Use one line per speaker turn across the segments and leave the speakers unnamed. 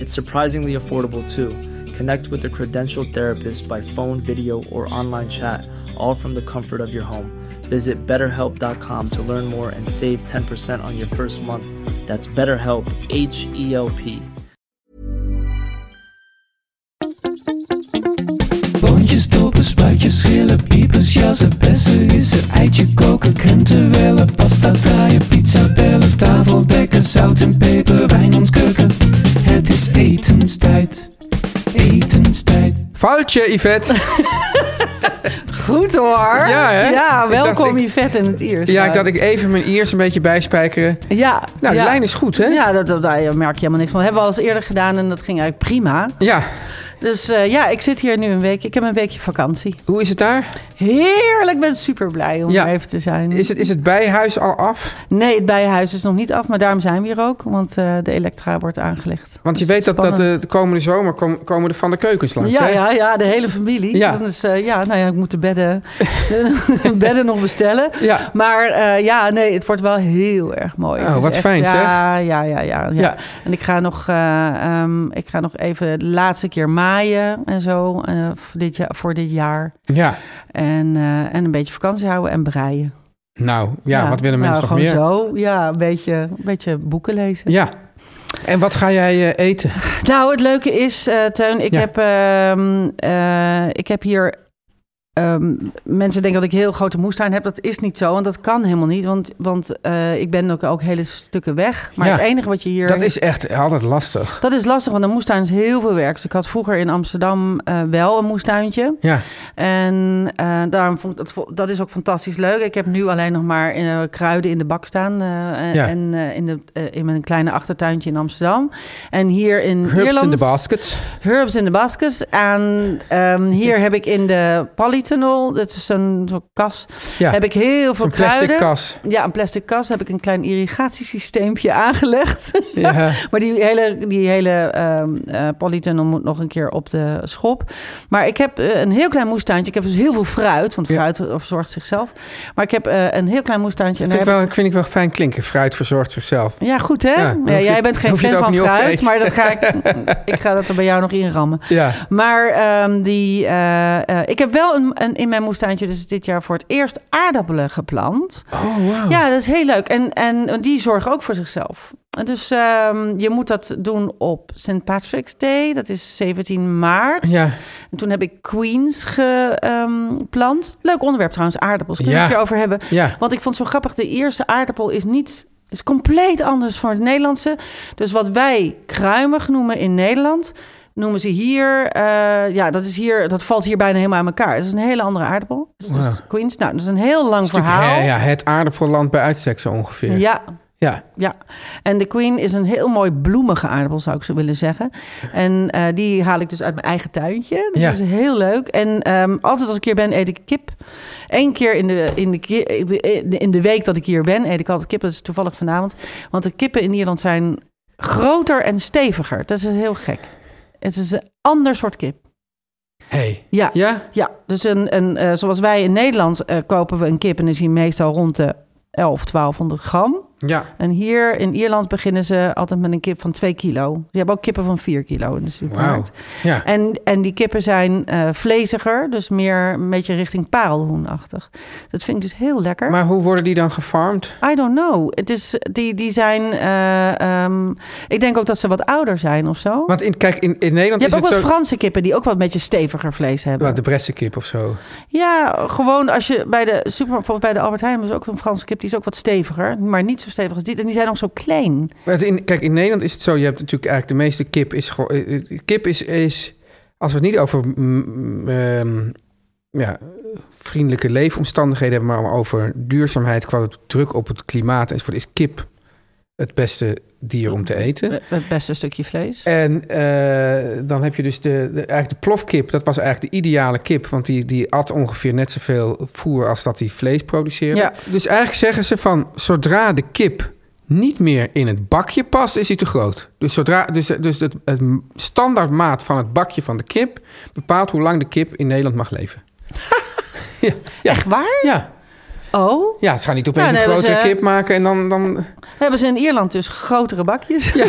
It's surprisingly affordable too. Connect with a credentialed therapist by phone, video, or online chat, all from the comfort of your home. Visit betterhelp.com to learn more and save 10% on your first month. That's BetterHelp, H E L P.
Boontjes, dopen, spuitjes, schillen, piepers, jassen, bessen, rissen, eitje koken, krenten wellen, pasta draaien, pizza bellen, tafel dekken, zout en peper, wijn ontkurken. Het is etenstijd, etenstijd.
Foutje, Yvette.
Goed hoor.
Ja, hè?
Ja,
Ik dacht,
welkom
ik-
Yvette in het Iers. Eh,
Ja, ik dacht ik even mijn ears een beetje bijspijkeren.
Ja.
Nou,
ja.
de lijn is goed, hè?
Ja, dat, dat, daar merk je helemaal niks van. Dat hebben we al eens eerder gedaan en dat ging eigenlijk prima.
Ja.
Dus eh, ja, ik zit hier nu een week. Ik heb een weekje vakantie.
Hoe is het daar?
Heerlijk, ik ben super blij om
Ja.
er even te zijn.
Is het, is het bijhuis al af?
Nee, het bijenhuis is nog niet af, maar daarom zijn we hier ook. Want eh, de elektra wordt aangelegd.
Want je
Dus
weet dat, dat de,
spannend.
de komende zomer kom- komen de van de keukens langs,
ja,
hè?
ja, ja, de hele familie.
Ja.
Dus eh, ja, nou ja, ik moet de bedden, de bedden nog bestellen.
Ja.
Maar eh, ja, nee, het wordt wel heel erg mooi.
Oh,
Het is
wat fijn,
ja,
zeg.
Ja, ja, ja, ja,
Ja.
En ik ga, nog, eh, ehm, ik ga nog even de laatste keer maaien en zo eh, voor, dit jaar, voor dit jaar.
Ja.
En, eh, en een beetje vakantie houden en breien.
Nou, ja, wat willen
nou,
mensen nog meer?
gewoon zo, ja, een beetje, een beetje boeken lezen.
Ja. En wat ga jij eh, eten?
Nou, het leuke is, eh Teun, ik,
Ja.
heb, ehm, eh, ik heb hier. ehm, mensen denken dat ik een heel grote moestuin heb. Dat is niet zo, want dat kan helemaal niet. Want, want eh, ik ben ook, ook hele stukken weg. Maar
Ja.
het enige wat je hier.
Dat is echt altijd lastig.
dat is lastig, want een moestuin is heel veel werk. Dus ik had vroeger in Amsterdam eh, wel een moestuintje.
Ja.
En eh, daarom vond ik dat, vo- dat is ook fantastisch leuk. Ik heb nu alleen nog maar eh, kruiden in de bak staan. eh, en
Ja.
en eh, in, de, eh, in mijn kleine achtertuintje in Amsterdam. En hier in
Herbs
Ierland...
in de basket.
Herbs in the Baskets. En ehm, hier heb ik in de Polytunnel, dat is zo'n zo'n kas,
Ja.
heb ik heel veel
Zo'n plastic
kruiden.
kas.
Ja, een plastic kas. Heb ik een klein irrigatiesysteempje aangelegd.
Ja.
maar die hele, die hele ehm, eh, Polytunnel moet nog een keer op de schop. Maar ik heb eh, een heel klein moestuintje. Ik heb dus heel veel fruit, want
Ja.
fruit verzorgt zichzelf. Maar ik heb eh, een heel klein moestuintje.
Vind
daar
ik,
heb
wel, vind ik wel fijn klinken. Fruit verzorgt zichzelf.
ja, goed hè?
Ja,
Ja,
dan hoef je
jij
het-
bent geen
hoef je
fan
het ook
van
niet op te
fruit,
eten.
maar dat ga ik, ik ga dat er bij jou nog inrammen.
Ja.
Maar ehm, die, eh, eh, ik heb wel een, een, in mijn moestuintje dus dit jaar voor het eerst aardappelen geplant.
Oh, wow.
Ja, dat is heel leuk. En, en die zorgen ook voor zichzelf. En Dus ehm, je moet dat doen op St. Patrick's Day. Dat is 17 maart.
Ja.
En toen heb ik Queens geplant. Leuk onderwerp trouwens, aardappels. Kunnen we
Ja.
het hierover hebben?
Ja.
Want ik vond het zo grappig. De Ierse aardappel is niet is compleet anders van het Nederlandse. Dus wat wij kruimig noemen in Nederland, noemen ze hier. eh, ja, dat is hier. Dat valt hier bijna helemaal aan elkaar. Het is een hele andere aardappel. Dus, dus
Wauw.
Queens. Nou, dat is een heel lang
Het is natuurlijk,
verhaal.
hè, ja, het aardappelland bij uitstek zo ongeveer.
ja,
Ja.
ja, en de Queen is een heel mooi bloemige aardappel, zou ik zo willen zeggen. En eh, die haal ik dus uit mijn eigen tuintje. Dus
Ja.
dat is heel leuk. En ehm, altijd als ik hier ben, eet ik kip. Eén keer in de, in, de, ki- in de- in de week dat ik hier ben, eet ik altijd kip. Dat is toevallig vanavond. Want de kippen in Ierland zijn groter en steviger. Dat is heel gek. Het is een ander soort kip.
Hey.
Ja.
Ja?
Ja, dus een, een, eh, zoals wij in Nederland eh, kopen we een kip... en is die meestal rond de 11, 1200 gram...
Ja.
En hier in Ierland beginnen ze altijd met een kip van 2 kilo. Ze hebben ook kippen van 4 kilo in de
Wauw.
supermarkt.
Ja.
En, en die kippen zijn eh vleesiger, dus meer een beetje richting parelhoenachtig. Dat vind ik dus heel lekker.
Maar hoe worden die dan gefarmd?
I don't know. Het is, die, die zijn... eh, ehm, ik denk ook dat ze wat ouder zijn of zo.
Want in, kijk, in, in Nederland
je hebt
is
ook
het
wat
zo...
Franse kippen die ook wat een beetje steviger vlees hebben.
Wel, de bressenkip of zo.
Ja, gewoon als je bij de super, bijvoorbeeld bij de Albert Heijn is ook een Franse kip, die is ook wat steviger, maar niet zo zo stevig als dit. En die zijn nog zo klein.
Maar het in, kijk, in Nederland is het zo, je hebt natuurlijk eigenlijk de meeste kip is gewoon... eh, eh, Kip is, is, als we het niet over mm, ehm, ja, vriendelijke leefomstandigheden hebben, maar over duurzaamheid qua het druk op het klimaat enzovoort, is kip het beste dier om te eten.
Met met best een stukje vlees.
En eh, dan heb je dus de, de, eigenlijk de plofkip, dat was eigenlijk de ideale kip, want die, die at ongeveer net zoveel voer als dat die vlees produceerde.
Ja.
Dus eigenlijk zeggen ze van, zodra de kip niet meer in het bakje past, is hij te groot. Dus, zodra, dus, dus het, het standaardmaat van het bakje van de kip bepaalt hoe lang de kip in Nederland mag leven. ja, ja,
Echt waar?
ja,
Oh,
ja, ze gaan niet opeens
Ja, dan
een
hebben
grotere
ze-
kip maken en dan... dan
hebben ze in Ierland dus grotere bakjes?
ja,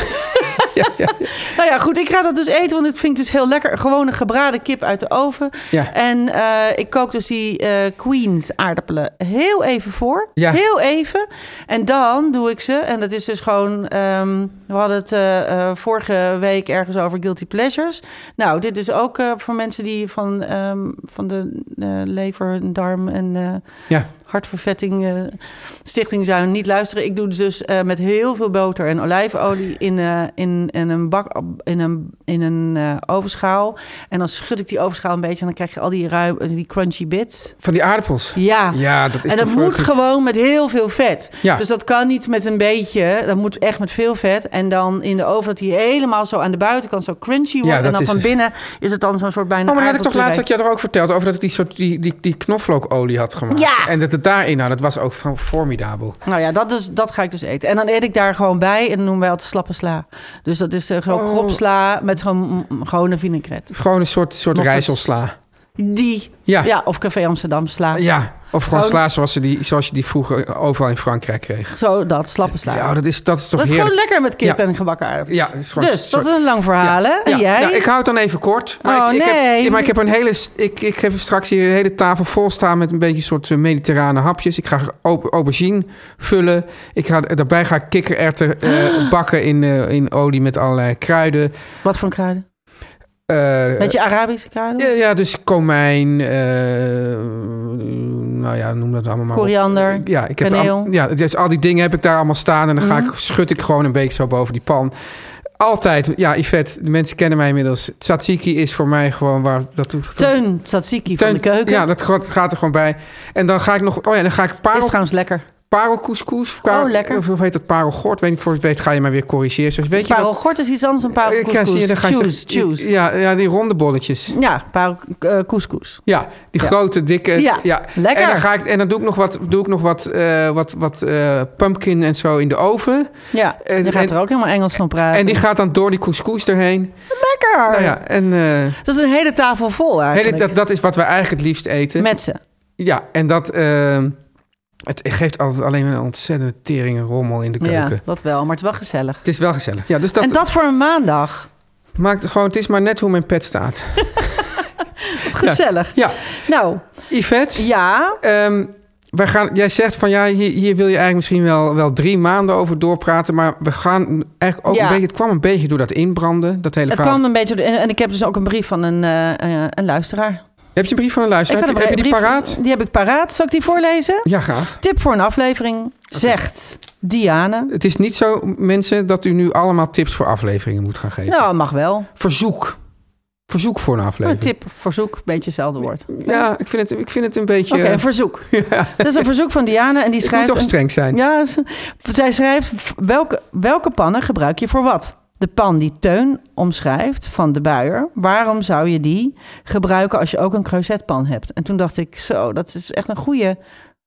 ja, ja.
Nou ja, goed, ik ga dat dus eten, want het vind ik dus heel lekker. Gewoon een gebraden kip uit de oven.
Ja.
En eh, ik kook dus die eh, Queens aardappelen heel even voor.
Ja.
Heel even. En dan doe ik ze. En dat is dus gewoon... ehm, we hadden het eh, eh, vorige week ergens over guilty pleasures. Nou, dit is ook eh, voor mensen die van, ehm, van de eh, lever en darm en... eh,
ja.
hartvervetting eh, stichting zou niet luisteren. Ik doe het dus eh, met heel veel boter en olijfolie in, eh, in, in een bak in een, in een eh, ovenschaal. En dan schud ik die ovenschaal een beetje en dan krijg je al die ruim, eh, die crunchy bits.
Van die aardappels.
Ja.
Ja, dat is
en dat
toch
moet
werkelijk-
gewoon met heel veel vet.
Ja.
Dus dat kan niet met een beetje. Dat moet echt met veel vet. En dan in de oven dat hij helemaal zo aan de buitenkant zo crunchy wordt. en
dat
dan
is
van
het.
binnen is het dan zo'n soort bijna
Oh, maar dat had ik toch
aardappelpuree.
laatst, had je toch ook verteld over dat ik die soort die, die, die knoflookolie had gemaakt.
Ja.
En dat het daarin had, dat was ook van- formidabel.
Nou ja, dat, dus, dat ga ik dus eten. En dan eet ik daar gewoon bij en dan noemen wij altijd slappe sla. Dus dat is eh, gewoon
Oh.
kropsla met gewoon mm, gewone vinaigrette.
Gewoon een soort, soort
Nog dat-
rijzelsla.
Die.
Ja.
Ja. of Café Amsterdam sla.
Ja, of gewoon
Gewoon-
sla zoals, ze die, zoals je die vroeger overal in Frankrijk kreeg.
Zo dat, slappe sla.
Ja, dat is, dat is toch
dat is
heerlijk.
gewoon lekker met kip
Ja.
en gebakken aardappels.
Ja, dat is gewoon
dus
een
dat
soort-
is een lang verhaal, hè? En
Ja,
jij?
nou, ik hou het dan even kort. Maar,
Oh,
ik, ik
nee.
heb, maar ik heb een hele. s- Ik, ik heb straks hier een hele tafel vol staan met een beetje een soort eh, mediterrane hapjes. Ik ga au- aubergine vullen. Ik ga, daarbij ga ik kikkererwten eh, bakken in, eh, in olie met allerlei kruiden.
Wat voor kruiden?
Eh,
Beetje Arabische kruiden?
Ja, ja, dus komijn, eh, nou ja, noem dat allemaal maar op.
Koriander,
eh, Ja, ik heb
kaneel.
al, ja, dus al die dingen heb ik daar allemaal staan en dan ga
Mhm.
ik, schud ik gewoon een beetje zo boven die pan. Altijd, ja, Yvette, de mensen kennen mij inmiddels. Tzatziki is voor mij gewoon waar dat doet.
Teun tzatziki van
Teun-
de keuken.
Ja, dat gaat- gaat er gewoon bij. En dan ga ik nog, oh ja, dan ga ik
Is
parel,
trouwens lekker.
parelcouscous. of parel-
lekker.
Of hoe heet dat, parelgort? Weet niet, voor het weet ga je maar weer corrigeren. Zoals, weet je dat-
Parelgort is iets anders dan
Ja, zie je,
parelcouscous.
dan ga je-
Choose, choose. Ja,
Ja, ja, die ronde bolletjes.
parel eh, couscous.
Ja, die grote, dikke.
Ja, lekker.
En dan, ga ik, en dan doe ik nog wat, doe ik nog wat, eh, wat, wat eh, pumpkin en zo in de oven.
Ja,
En-
je gaat
en-
er ook helemaal Engels van praten.
En die gaat dan door die couscous erheen.
lekker! Dus
Nou ja, en eh,
Dat is een hele tafel vol eigenlijk.
hele, dat, dat is wat we eigenlijk het liefst eten.
Met ze.
Ja, en dat eh, het geeft altijd alleen een ontzettende tering en rommel in de keuken.
Ja, dat wel. Maar het is wel gezellig.
Het is wel gezellig. Ja, dus dat,
en dat voor een maandag.
maakt gewoon, het is maar net hoe mijn pet staat.
Wat gezellig.
Ja,
Nou,
Yvette,
ja.
ehm, wij gaan, jij zegt van ja, hier, hier wil je eigenlijk misschien wel, wel drie maanden over doorpraten. Maar we gaan eigenlijk ook
Ja.
een beetje, het kwam een beetje door dat inbranden. Dat hele
Het
verhaal.
kwam een beetje... En, en ik heb dus ook een brief van een, eh, eh, een luisteraar.
Heb je een brief van een luisteraar?
ik
Dus Heb,
had
je- heb je
een
die
brief-
paraat?
Die heb ik paraat. Zal ik die voorlezen?
Ja, graag.
Tip voor een aflevering, zegt Diane.
Het is niet zo, mensen, dat u nu allemaal tips voor afleveringen moet gaan geven.
Nou, mag wel.
Verzoek. Verzoek voor een
Een
aflevering.
tip, verzoek, beetje hetzelfde woord. Oké,
Ja, ik vind het, ik vind het een beetje...
een verzoek. Dat is een verzoek van Diane en die
eh, ik moet
schrijft...
toch
een-
streng zijn.
Ja, ze- zij schrijft: welke, welke pannen gebruik je voor wat? De pan die Teun omschrijft van de buier, waarom zou je die gebruiken als je ook een creusetpan hebt? En toen dacht ik, zo, dat is echt een goede,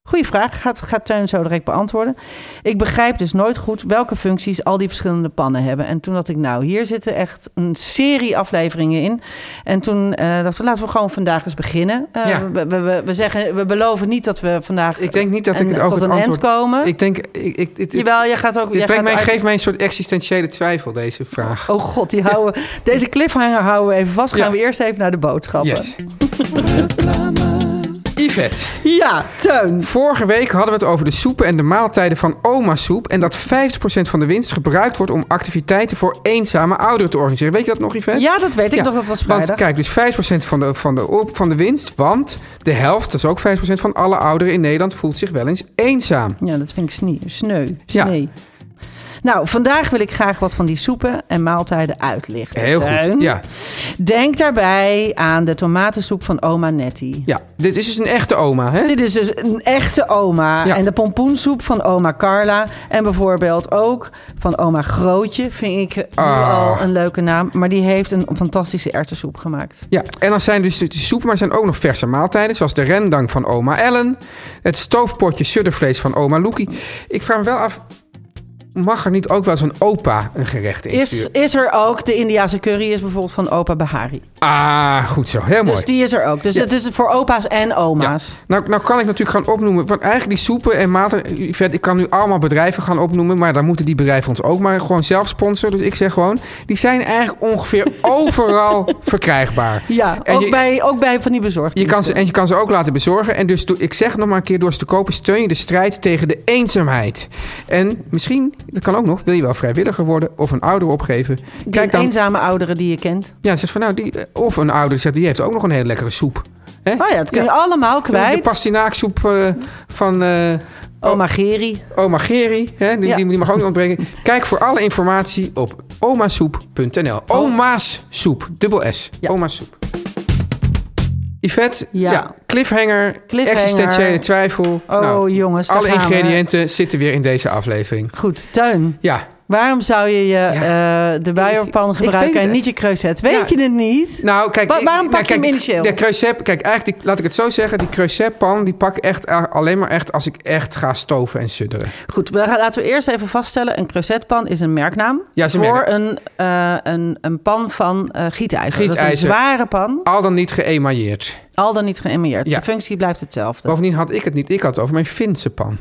goede vraag. Gaat, gaat Teun zo direct beantwoorden? Ik begrijp dus nooit goed welke functies al die verschillende pannen hebben. En toen dacht ik, nou, hier zitten echt een serie afleveringen in. En toen eh dachten we, laten we gewoon vandaag eens beginnen. Eh,
Ja.
we, we, we, we zeggen, we beloven niet dat we vandaag
Ik denk niet dat ik
een-
het ook
tot
het
een end
antwoord-
komen.
Ik denk... Ik, ik, dit, dit,
Jawel, jij gaat ook.
dit
jij
brengt
gaat
mij,
uit-
geeft mij een soort existentiële twijfel, deze vraag.
Oh god, die houden, deze cliffhanger houden we even vast. Gaan
Ja.
we eerst even naar de boodschappen.
Yes. Yves, vet.
Ja, Teun.
Vorige week hadden we het over de soepen en de maaltijden van oma soep. En dat 50% van de winst gebruikt wordt om activiteiten voor eenzame ouderen te organiseren. Weet je dat nog, Yvette?
Ja, dat weet ik
Ja,
nog. Dat was
Want
vrijdag.
kijk, dus 5% van de, van, de op, van de winst. Want de helft, dat is ook 5% van alle ouderen in Nederland, voelt zich wel eens eenzaam.
Ja, dat vind ik snie, sneu.
Ja.
Snee. Nou, vandaag wil ik graag wat van die soepen en maaltijden uitlichten.
Heel goed.
Teun.
Ja,
Denk daarbij aan de tomatensoep van oma Nettie.
ja. Dit is dus een echte oma, hè?
Dit is dus een echte oma.
Ja.
En de pompoensoep van oma Carla. En bijvoorbeeld ook van oma Grootje. Vind ik nu
Ah.
al een leuke naam. Maar die heeft een fantastische erwtensoep gemaakt.
Ja, en dan zijn dus de soepen, maar er zijn ook nog verse maaltijden. Zoals de rendang van oma Ellen. Het stoofpotje suddervlees van oma Loekie. Ik vraag me wel af, mag er niet ook wel zo'n opa een gerecht in
Is, is er ook. De Indiase curry is bijvoorbeeld van opa Bahari.
Ah, goed zo. Heel mooi.
Dus die is er ook. Dus het is voor opa's en oma's.
Nou, nou kan ik natuurlijk gaan opnoemen. Want eigenlijk die soepen en maten. Ik kan nu allemaal bedrijven gaan opnoemen. Maar dan moeten die bedrijven ons ook maar gewoon zelf sponsoren. Dus ik zeg gewoon. Die zijn eigenlijk ongeveer overal verkrijgbaar.
Ja,
En
ook,
je-
bij, ook bij van die
Je
bezorgdiensten.
kan ze, en je kan ze ook laten bezorgen. En dus doe- ik zeg nog maar een keer, door ze te kopen steun je de strijd tegen de eenzaamheid. En misschien, dat kan ook nog, wil je wel vrijwilliger worden of een ouder opgeven.
Die
Kijk dan,
eenzame ouderen die je kent.
ja, zegt van, nou, die, of een ouder zegt, die heeft ook nog een hele lekkere soep. Hè?
Oh ja, dat kun je allemaal
De
kwijt.
pastinaaksoep eh, van eh,
Oma Geri.
oma Geri, hè? Die,
Ja.
die, die mag ook niet ontbreken. Kijk voor alle informatie op omasoep.nl. Oma's soep, dubbel S.
Oh. Ja.
Oma's soep. Yvette, ja.
Ja.
cliffhanger,
Cliffhanger.
existentiële twijfel. Nou,
Oh, jongens, daar
Alle
gaan we.
ingrediënten zitten weer in deze aflevering.
Goed, Tuin.
Ja,
Waarom zou je, je eh, de
Ik-
buierpan
ik weet
gebruiken
het
en
echt.
niet je creuset? Weet
Ja.
je het niet?
nou kijk...
Wa-
ik-
waarom
nou,
pak je
kijk,
hem
die-
initieel?
De creuset, kijk, eigenlijk, die, laat ik het zo zeggen. Die creusetpan, die pak ik echt a- alleen maar echt als ik echt ga stoven en sudderen.
Goed, we gaan, laten we eerst even vaststellen. Een creusetpan is een merknaam
Ja, is een
voor
merk.
een, eh, een, een pan van eh gietijzer. Dat is
Gietijzer.
een zware pan,
Al dan niet geëmailleerd.
al dan niet geëmailleerd.
Ja.
De functie blijft hetzelfde.
Bovendien had ik het niet. Ik had het over mijn Finse pan.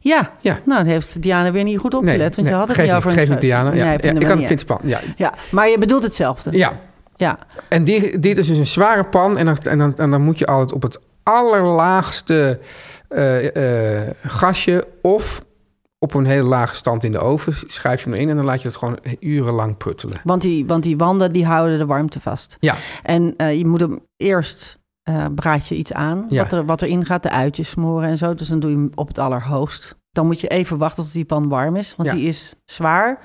Ja.
Ja.
nou, dat heeft Diana weer niet goed opgelet. want je had het
geef
niet over een
geef niet,
creu-
Diana. Ja,
Nee,
ja,
vinden we
ik had een
niet erg.
fietspan. Ja.
Ja, maar je bedoelt hetzelfde.
ja.
Ja.
En die, dit is dus een zware pan. En dan, en dan, en dan moet je altijd op het allerlaagste eh, eh, gasje... of op een hele lage stand in de oven schuif je hem erin... en dan laat je het gewoon urenlang puttelen.
Want, die, want die wanden die houden de warmte vast.
Ja,
En eh, je moet hem eerst eh braad je iets aan.
Ja.
Wat, er, wat erin gaat, de uitjes smoren en zo. Dus dan doe je hem op het allerhoogst. Dan moet je even wachten tot die pan warm is. Want
Ja.
die is zwaar.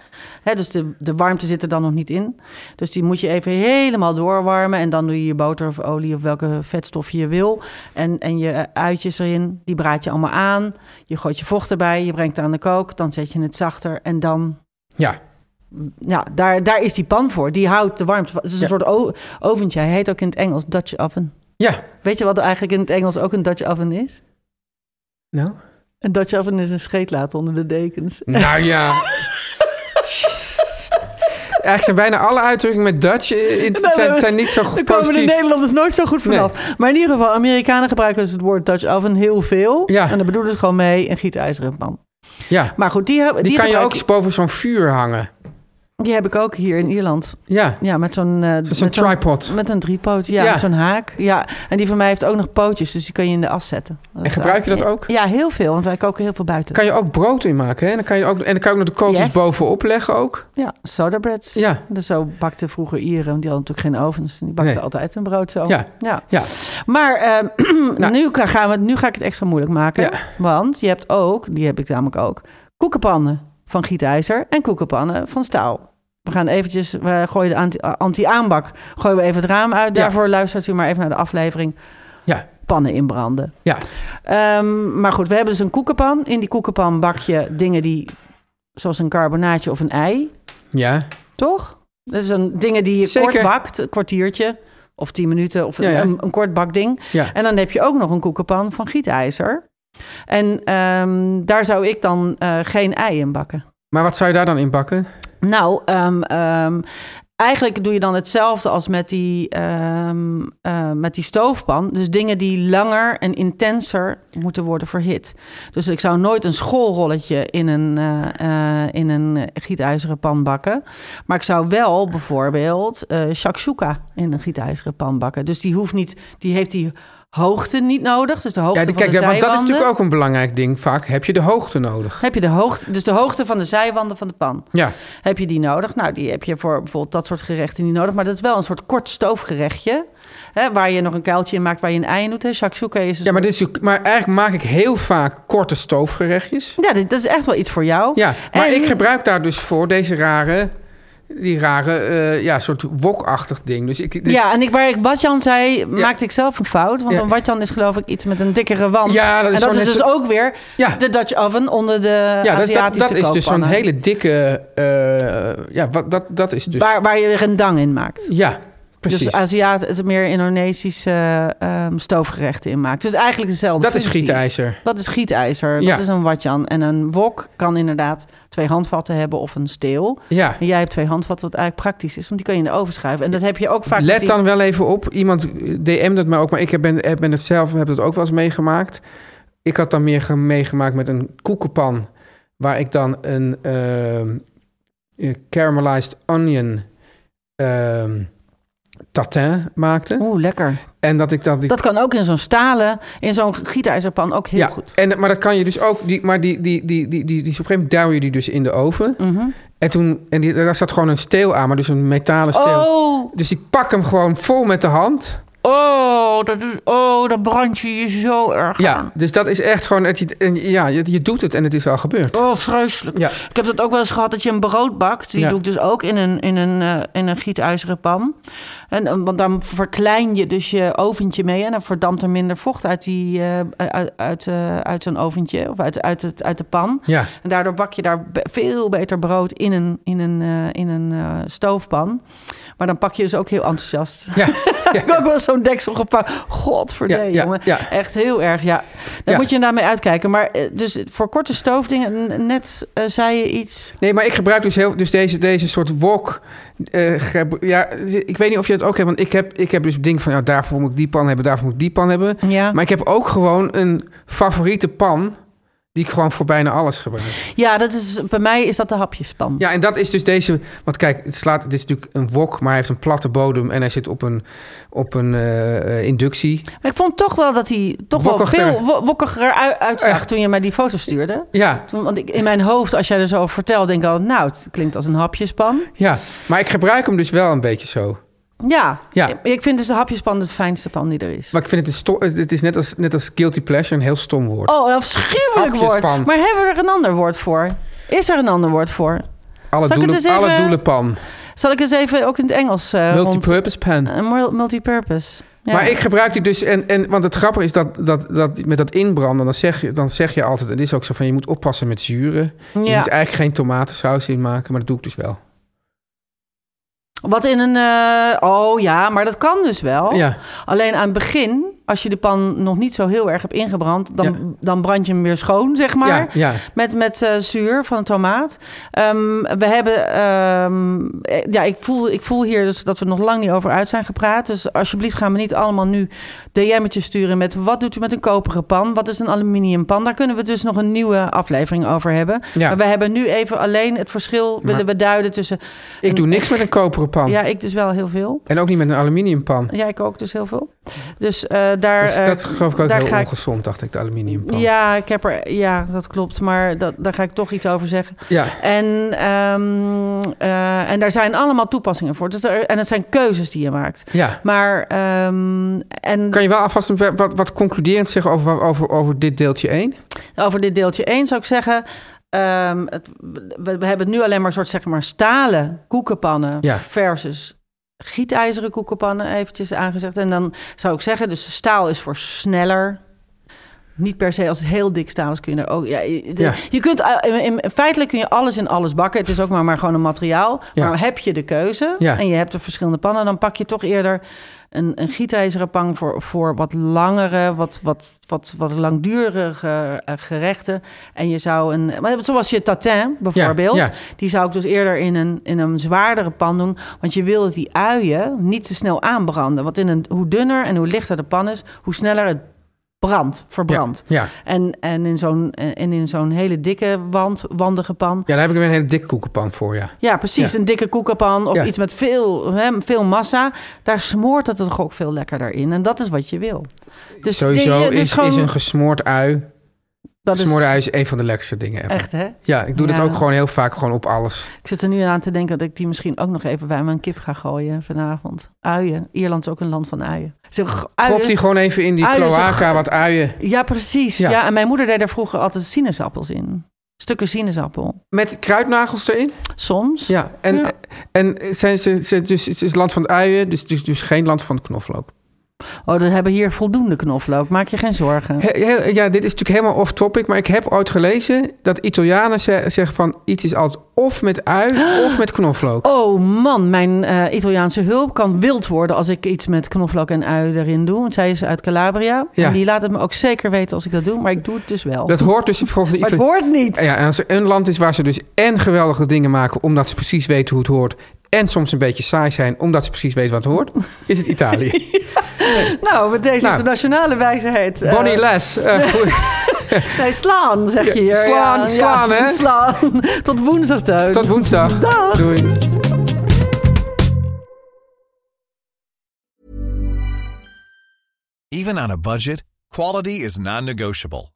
Hè, dus de, de warmte zit er dan nog niet in. Dus die moet je even helemaal doorwarmen. En dan doe je je boter of olie of welke vetstof je wil. En, en je eh, uitjes erin. Die braad je allemaal aan. Je gooit je vocht erbij. Je brengt het aan de kook. Dan zet je het zachter. En dan
ja.
ja, daar, daar is die pan voor. Die houdt de warmte. van- Het is een
Ja.
soort o- oventje. Hij heet ook in het Engels Dutch oven.
Ja,
Weet je wat er eigenlijk in het Engels ook een Dutch oven is?
nou...
Een Dutch oven is een scheetlaat onder de dekens.
Nou ja... Eigenlijk zijn bijna alle uitdrukkingen met Dutch eh, in-
Nou,
zijn,
we-
zijn niet zo goed
Daar komen de
positief.
Nederlanders nooit zo goed vanaf. Maar in ieder geval, Amerikanen gebruiken dus het woord Dutch oven heel veel.
Ja.
En daar bedoelen ze gewoon mee een gietijzeren pan.
Ja,
Maar goed, die, heb- die,
die kan je
gebruik-
ook boven zo'n vuur hangen.
die heb ik ook hier in Ierland.
Ja,
Ja, met zo'n... eh,
zo'n
met zo'n-
tripod.
Met een driepoot, ja.
Ja.
Met zo'n haak. Ja. En die van mij heeft ook nog pootjes, dus die kan je in de as zetten.
En gebruik je dat ook?
Ja, heel veel, want wij koken heel veel buiten.
Kan je ook brood in maken, hè? En dan kan je ook, en dan kan je ook nog de kooltjes
Yes.
bovenop leggen ook.
Ja, soda breads.
Ja.
Dus zo bakten vroeger Ieren, want die hadden natuurlijk geen ovens. Die bakten
Nee.
altijd hun brood zo.
Ja. Ja, Nou.
Maar ehm, nu, kan- gaan we, nu ga ik het extra moeilijk maken.
Ja.
Want je hebt ook, die heb ik namelijk ook, koekenpannen van gietijzer en koekenpannen van staal. We gaan eventjes, we gooien de anti- eh, anti-aanbak, gooien we even het raam uit.
Ja.
Daarvoor luistert u maar even naar de aflevering
ja,
Pannen inbranden.
ja.
Ehm, maar goed, we hebben dus een koekenpan. In die koekenpan bak je dingen die, zoals een carbonaatje of een ei,
ja.
toch? Dat zijn dingen die je
Zeker.
kort bakt, een kwartiertje of tien minuten of
Ja, ja.
Een, een kort bakding.
Ja.
En dan heb je ook nog een koekenpan van gietijzer. En ehm, daar zou ik dan eh, geen ei in bakken.
Maar wat zou je daar dan in bakken?
Nou, ehm, ehm, eigenlijk doe je dan hetzelfde als met die, ehm, eh, met die stoofpan. Dus dingen die langer en intenser moeten worden verhit. Dus ik zou nooit een schoolrolletje in een, eh, eh, in een eh, gietijzeren pan bakken. Maar ik zou wel bijvoorbeeld eh shakshuka in een gietijzeren pan bakken. Dus die hoeft niet, die heeft die hoogte niet nodig. Dus de hoogte
Ja,
van
kijk,
de
want
zijwanden.
dat is natuurlijk ook een belangrijk ding vaak. Heb je de hoogte nodig?
Heb je de hoogte, dus de hoogte van de zijwanden van de pan.
Ja,
Heb je die nodig? Nou, die heb je voor bijvoorbeeld dat soort gerechten niet nodig. Maar dat is wel een soort kort stoofgerechtje. Hè, waar je nog een kuiltje in maakt, waar je een ei in doet. Hè. Shakshuka is een
ja maar, dit is, natuurlijk- maar eigenlijk maak ik heel vaak korte stoofgerechtjes.
Ja, dit- dat is echt wel iets voor jou.
Ja, maar
En-
ik gebruik daar dus voor deze rare, die rare, eh, ja, soort wokachtig ding. Dus ik, dus,
ja, en ik, waar ik Watjan zei, maakte ik zelf een fout. Want
Ja.
een Watjan is geloof ik iets met een dikkere wand.
Ja, dat is
en dat
zo'n
is
net
dus
zo-
ook weer
Ja.
de Dutch oven onder de
ja, dat,
Aziatische
dat, dat is dus zo'n
kookpannen.
hele dikke, eh, ja, wat, dat, dat is dus,
Waar, waar je rendang in maakt.
ja, precies.
Dus Aziat is meer Indonesische eh, ehm, stoofgerechten in maakt. Dus eigenlijk dezelfde
dat is
functie.
gietijzer.
Dat is gietijzer. Dat
Ja.
is een watjan. En een wok kan inderdaad twee handvatten hebben of een steel.
Ja.
En jij hebt twee handvatten, wat eigenlijk praktisch is. Want die kan je in de oven schuiven. En dat heb je ook vaak... met
Let
die-
dan wel even op. Iemand DM dat mij ook, maar ik heb- ben, heb- ben het zelf heb dat ook wel eens meegemaakt. Ik had dan meer ge- meegemaakt met een koekenpan waar ik dan een ehm, eh, caramelized onion ehm tatin maakte
Oeh, lekker.
en dat ik dan die
Oh. Dat kan ook in zo'n stalen, in zo'n gietijzerpan ook heel
ja,
goed.
En, maar dat kan je dus ook. Die, maar die, die, die, die, die, die, op een gegeven moment duw je die dus in de oven.
Mhm.
En toen. En die, daar zat gewoon een steel aan, maar dus een metalen steel.
Oh,
Dus ik pak hem gewoon vol met de hand.
oh, dat is, oh, dan brand je je zo erg
Ja,
aan.
dus dat is echt gewoon... Het, je- en ja, je, je doet het en het is al gebeurd.
Oh, vreselijk.
Ja.
Ik heb dat ook wel eens gehad dat je een brood bakt. Die
Ja.
doe ik dus ook in een, in een, eh, in een gietijzeren pan. En, eh, want dan verklein je dus je oventje mee. En dan verdampt er minder vocht uit, die, eh, uit, uit, eh, uit zo'n oventje. Of uit, uit, het, uit de pan.
Ja.
En daardoor bak je daar be- veel beter brood in een, in een, eh, in een eh, stoofpan. Maar dan pak je dus ook heel enthousiast.
Ja,
Ik heb ook wel eens zo'n deksel gepakt. Godverdee,
Ja, ja,
jongen.
ja.
Echt heel erg, ja. Daar
Ja.
moet je daarmee uitkijken. Maar eh, dus voor korte stoofdingen, n- net eh, zei je iets...
Nee, maar ik gebruik dus, heel, dus deze, deze soort wok. eh, gebru- ja, ik weet niet of je het ook hebt, want ik heb, ik heb dus het ding van... Ja, daarvoor moet ik die pan hebben, daarvoor moet ik die pan hebben.
Ja.
Maar ik heb ook gewoon een favoriete pan... die ik gewoon voor bijna alles gebruik.
Ja, dat is, bij mij is dat de hapjespan.
Ja, en dat is dus deze... Want kijk, het slaat, dit is natuurlijk een wok, maar hij heeft een platte bodem... en hij zit op een, op een eh, eh, inductie.
Maar ik vond toch wel dat hij toch wel
Wokkiger.
veel wo- wokkiger u- uitzag
Ja.
toen je mij die foto stuurde.
Ja,
Toen, want ik, in mijn hoofd, als jij er zo over vertelt, denk ik al... nou, het klinkt als een hapjespan.
ja. Maar ik gebruik hem dus wel een beetje zo.
Ja,
Ja.
Ik, ik vind dus de hapjespan de fijnste pan die er is.
Maar ik vind het, een sto- het is net als, net als guilty pleasure een heel stom woord.
Oh, een afschuwelijk woord.
Hapjespan.
Maar hebben we er een ander woord voor? Is er een ander woord voor?
alle,
zal ik
doelen,
het eens
alle
even-
doelenpan.
Zal ik eens even ook in het Engels eh rond...
Multipurpose pan.
Een mul- multipurpose. Ja.
Maar ik gebruik die dus, en, en, want het grappige is dat, dat, dat met dat inbranden, dan zeg, je, dan zeg je altijd, en het is ook zo van, je moet oppassen met zuren. Je
Ja.
moet eigenlijk geen tomatensaus in maken, maar dat doe ik dus wel.
Wat in een... eh, Oh ja, maar dat kan dus wel.
Ja.
Alleen aan het begin, als je de pan nog niet zo heel erg hebt ingebrand... dan,
Ja.
dan brand je hem weer schoon, zeg maar.
ja, ja.
Met, met eh, zuur van tomaat. Ehm, we hebben. ehm, eh, ja, ik voel, ik voel hier dus dat we nog lang niet over uit zijn gepraat. Dus alsjeblieft gaan we niet allemaal nu DM'tjes sturen met wat doet u met een koperen pan? Wat is een aluminium pan? Daar kunnen we dus nog een nieuwe aflevering over hebben.
Ja.
Maar we hebben nu even alleen het verschil willen we duiden tussen.
Ik doe niks met een koperen pan.
Ja, ik dus wel heel veel.
En ook niet met een aluminiumpan.
Ja, ik ook dus heel veel. Dus eh, daar.
Dus
eh,
dat is geloof ik ook
daar
heel
ga ik-
ongezond, dacht ik, de aluminiumpan.
Ja, ik heb er, ja, dat klopt. Maar dat, daar ga ik toch iets over zeggen.
Ja.
En, ehm, eh, en daar zijn allemaal toepassingen voor. Dus er, en het zijn keuzes die je maakt.
Ja.
Maar ehm, en
Kan je wel alvast een- wat, wat concluderend zeggen over, over, over dit deeltje 1?
over dit deeltje 1 zou ik zeggen. ehm, het, we, we hebben nu alleen maar een soort zeg maar stalen koekenpannen
Ja.
versus gietijzeren koekenpannen eventjes aangezegd. En dan zou ik zeggen, dus staal is voor sneller. Niet per se als het heel dik staal is kun je er ook... Ja, je- de-
Ja.
Je kunt, eh, in, in- feitelijk kun je alles in alles bakken. Het is ook maar, maar gewoon een materiaal.
Ja.
Maar heb je de keuze
Ja.
en je hebt er verschillende pannen... dan pak je toch eerder een, een gietijzeren pan voor, voor wat langere, wat, wat, wat, wat langdurige eh, gerechten. En je zou een... maar Zoals je tatin bijvoorbeeld.
ja.
Die zou ik dus eerder in een, in een zwaardere pan doen. Want je wil dat die uien niet te snel aanbranden. Want in een, hoe dunner en hoe lichter de pan is, hoe sneller het brand, verbrand.
Ja, ja.
En, en in zo'n eh, en in zo'n hele dikke wand, wandige pan.
Ja, daar heb ik weer een hele dikke koekenpan voor, ja.
Ja, precies.
Ja.
Een dikke koekenpan of
Ja.
iets met veel, hè, veel massa. Daar smoort het toch ook veel lekkerder in. En dat is wat je wil. Dus
Sowieso
dit- dit
is,
gewoon-
is een gesmoord ui.
dat
Gesmoorde ui is een van de lekkerste dingen ever.
Echt, hè?
Ja, ik doe
Ja.
dat ook gewoon heel vaak gewoon op alles.
Ik zit er nu aan te denken dat ik die misschien ook nog even bij mijn kip ga gooien vanavond. Uien. Ierland is ook een land van uien. Ze hebben ge- uien.
Prop die gewoon even in die
Uien is
cloaca,
een-
wat uien.
Ja, precies. Ja.
Ja.
en mijn moeder deed daar vroeger altijd sinaasappels in. Stukken sinaasappel.
Met kruidnagels erin.
Soms.
Ja, en,
Ja.
en zijn ze, ze- dus, het is land van de uien, dus, dus, dus geen land van de knoflook.
Oh, we hebben hier voldoende knoflook. Maak je geen zorgen.
He- he- ja, dit is natuurlijk helemaal off-topic, maar ik heb ooit gelezen dat Italianen ze- zeggen van iets is altijd of met ui of met knoflook.
Oh man, mijn eh, Italiaanse hulp kan wild worden als ik iets met knoflook en ui erin doe. Want zij is uit Calabria.
Ja.
En die laat het me ook zeker weten als ik dat doe. Maar ik doe het dus wel.
Dat hoort dus volgens de
maar het
Itali-
hoort niet.
Ja, en als er een land is waar ze dus en geweldige dingen maken omdat ze precies weten hoe het hoort, en soms een beetje saai zijn omdat ze precies weten wat het hoort, is het Italië.
Nou, met deze
Nou.
internationale wijsheid. eh,
Bonnie Les. eh, goeie-
nee, slaan zeg je hier.
slaan, slaan, hè?
Slaan. Tot woensdag, Teun.
tot woensdag.
Dag.
Doei.
Even on a budget, quality is non-negotiable.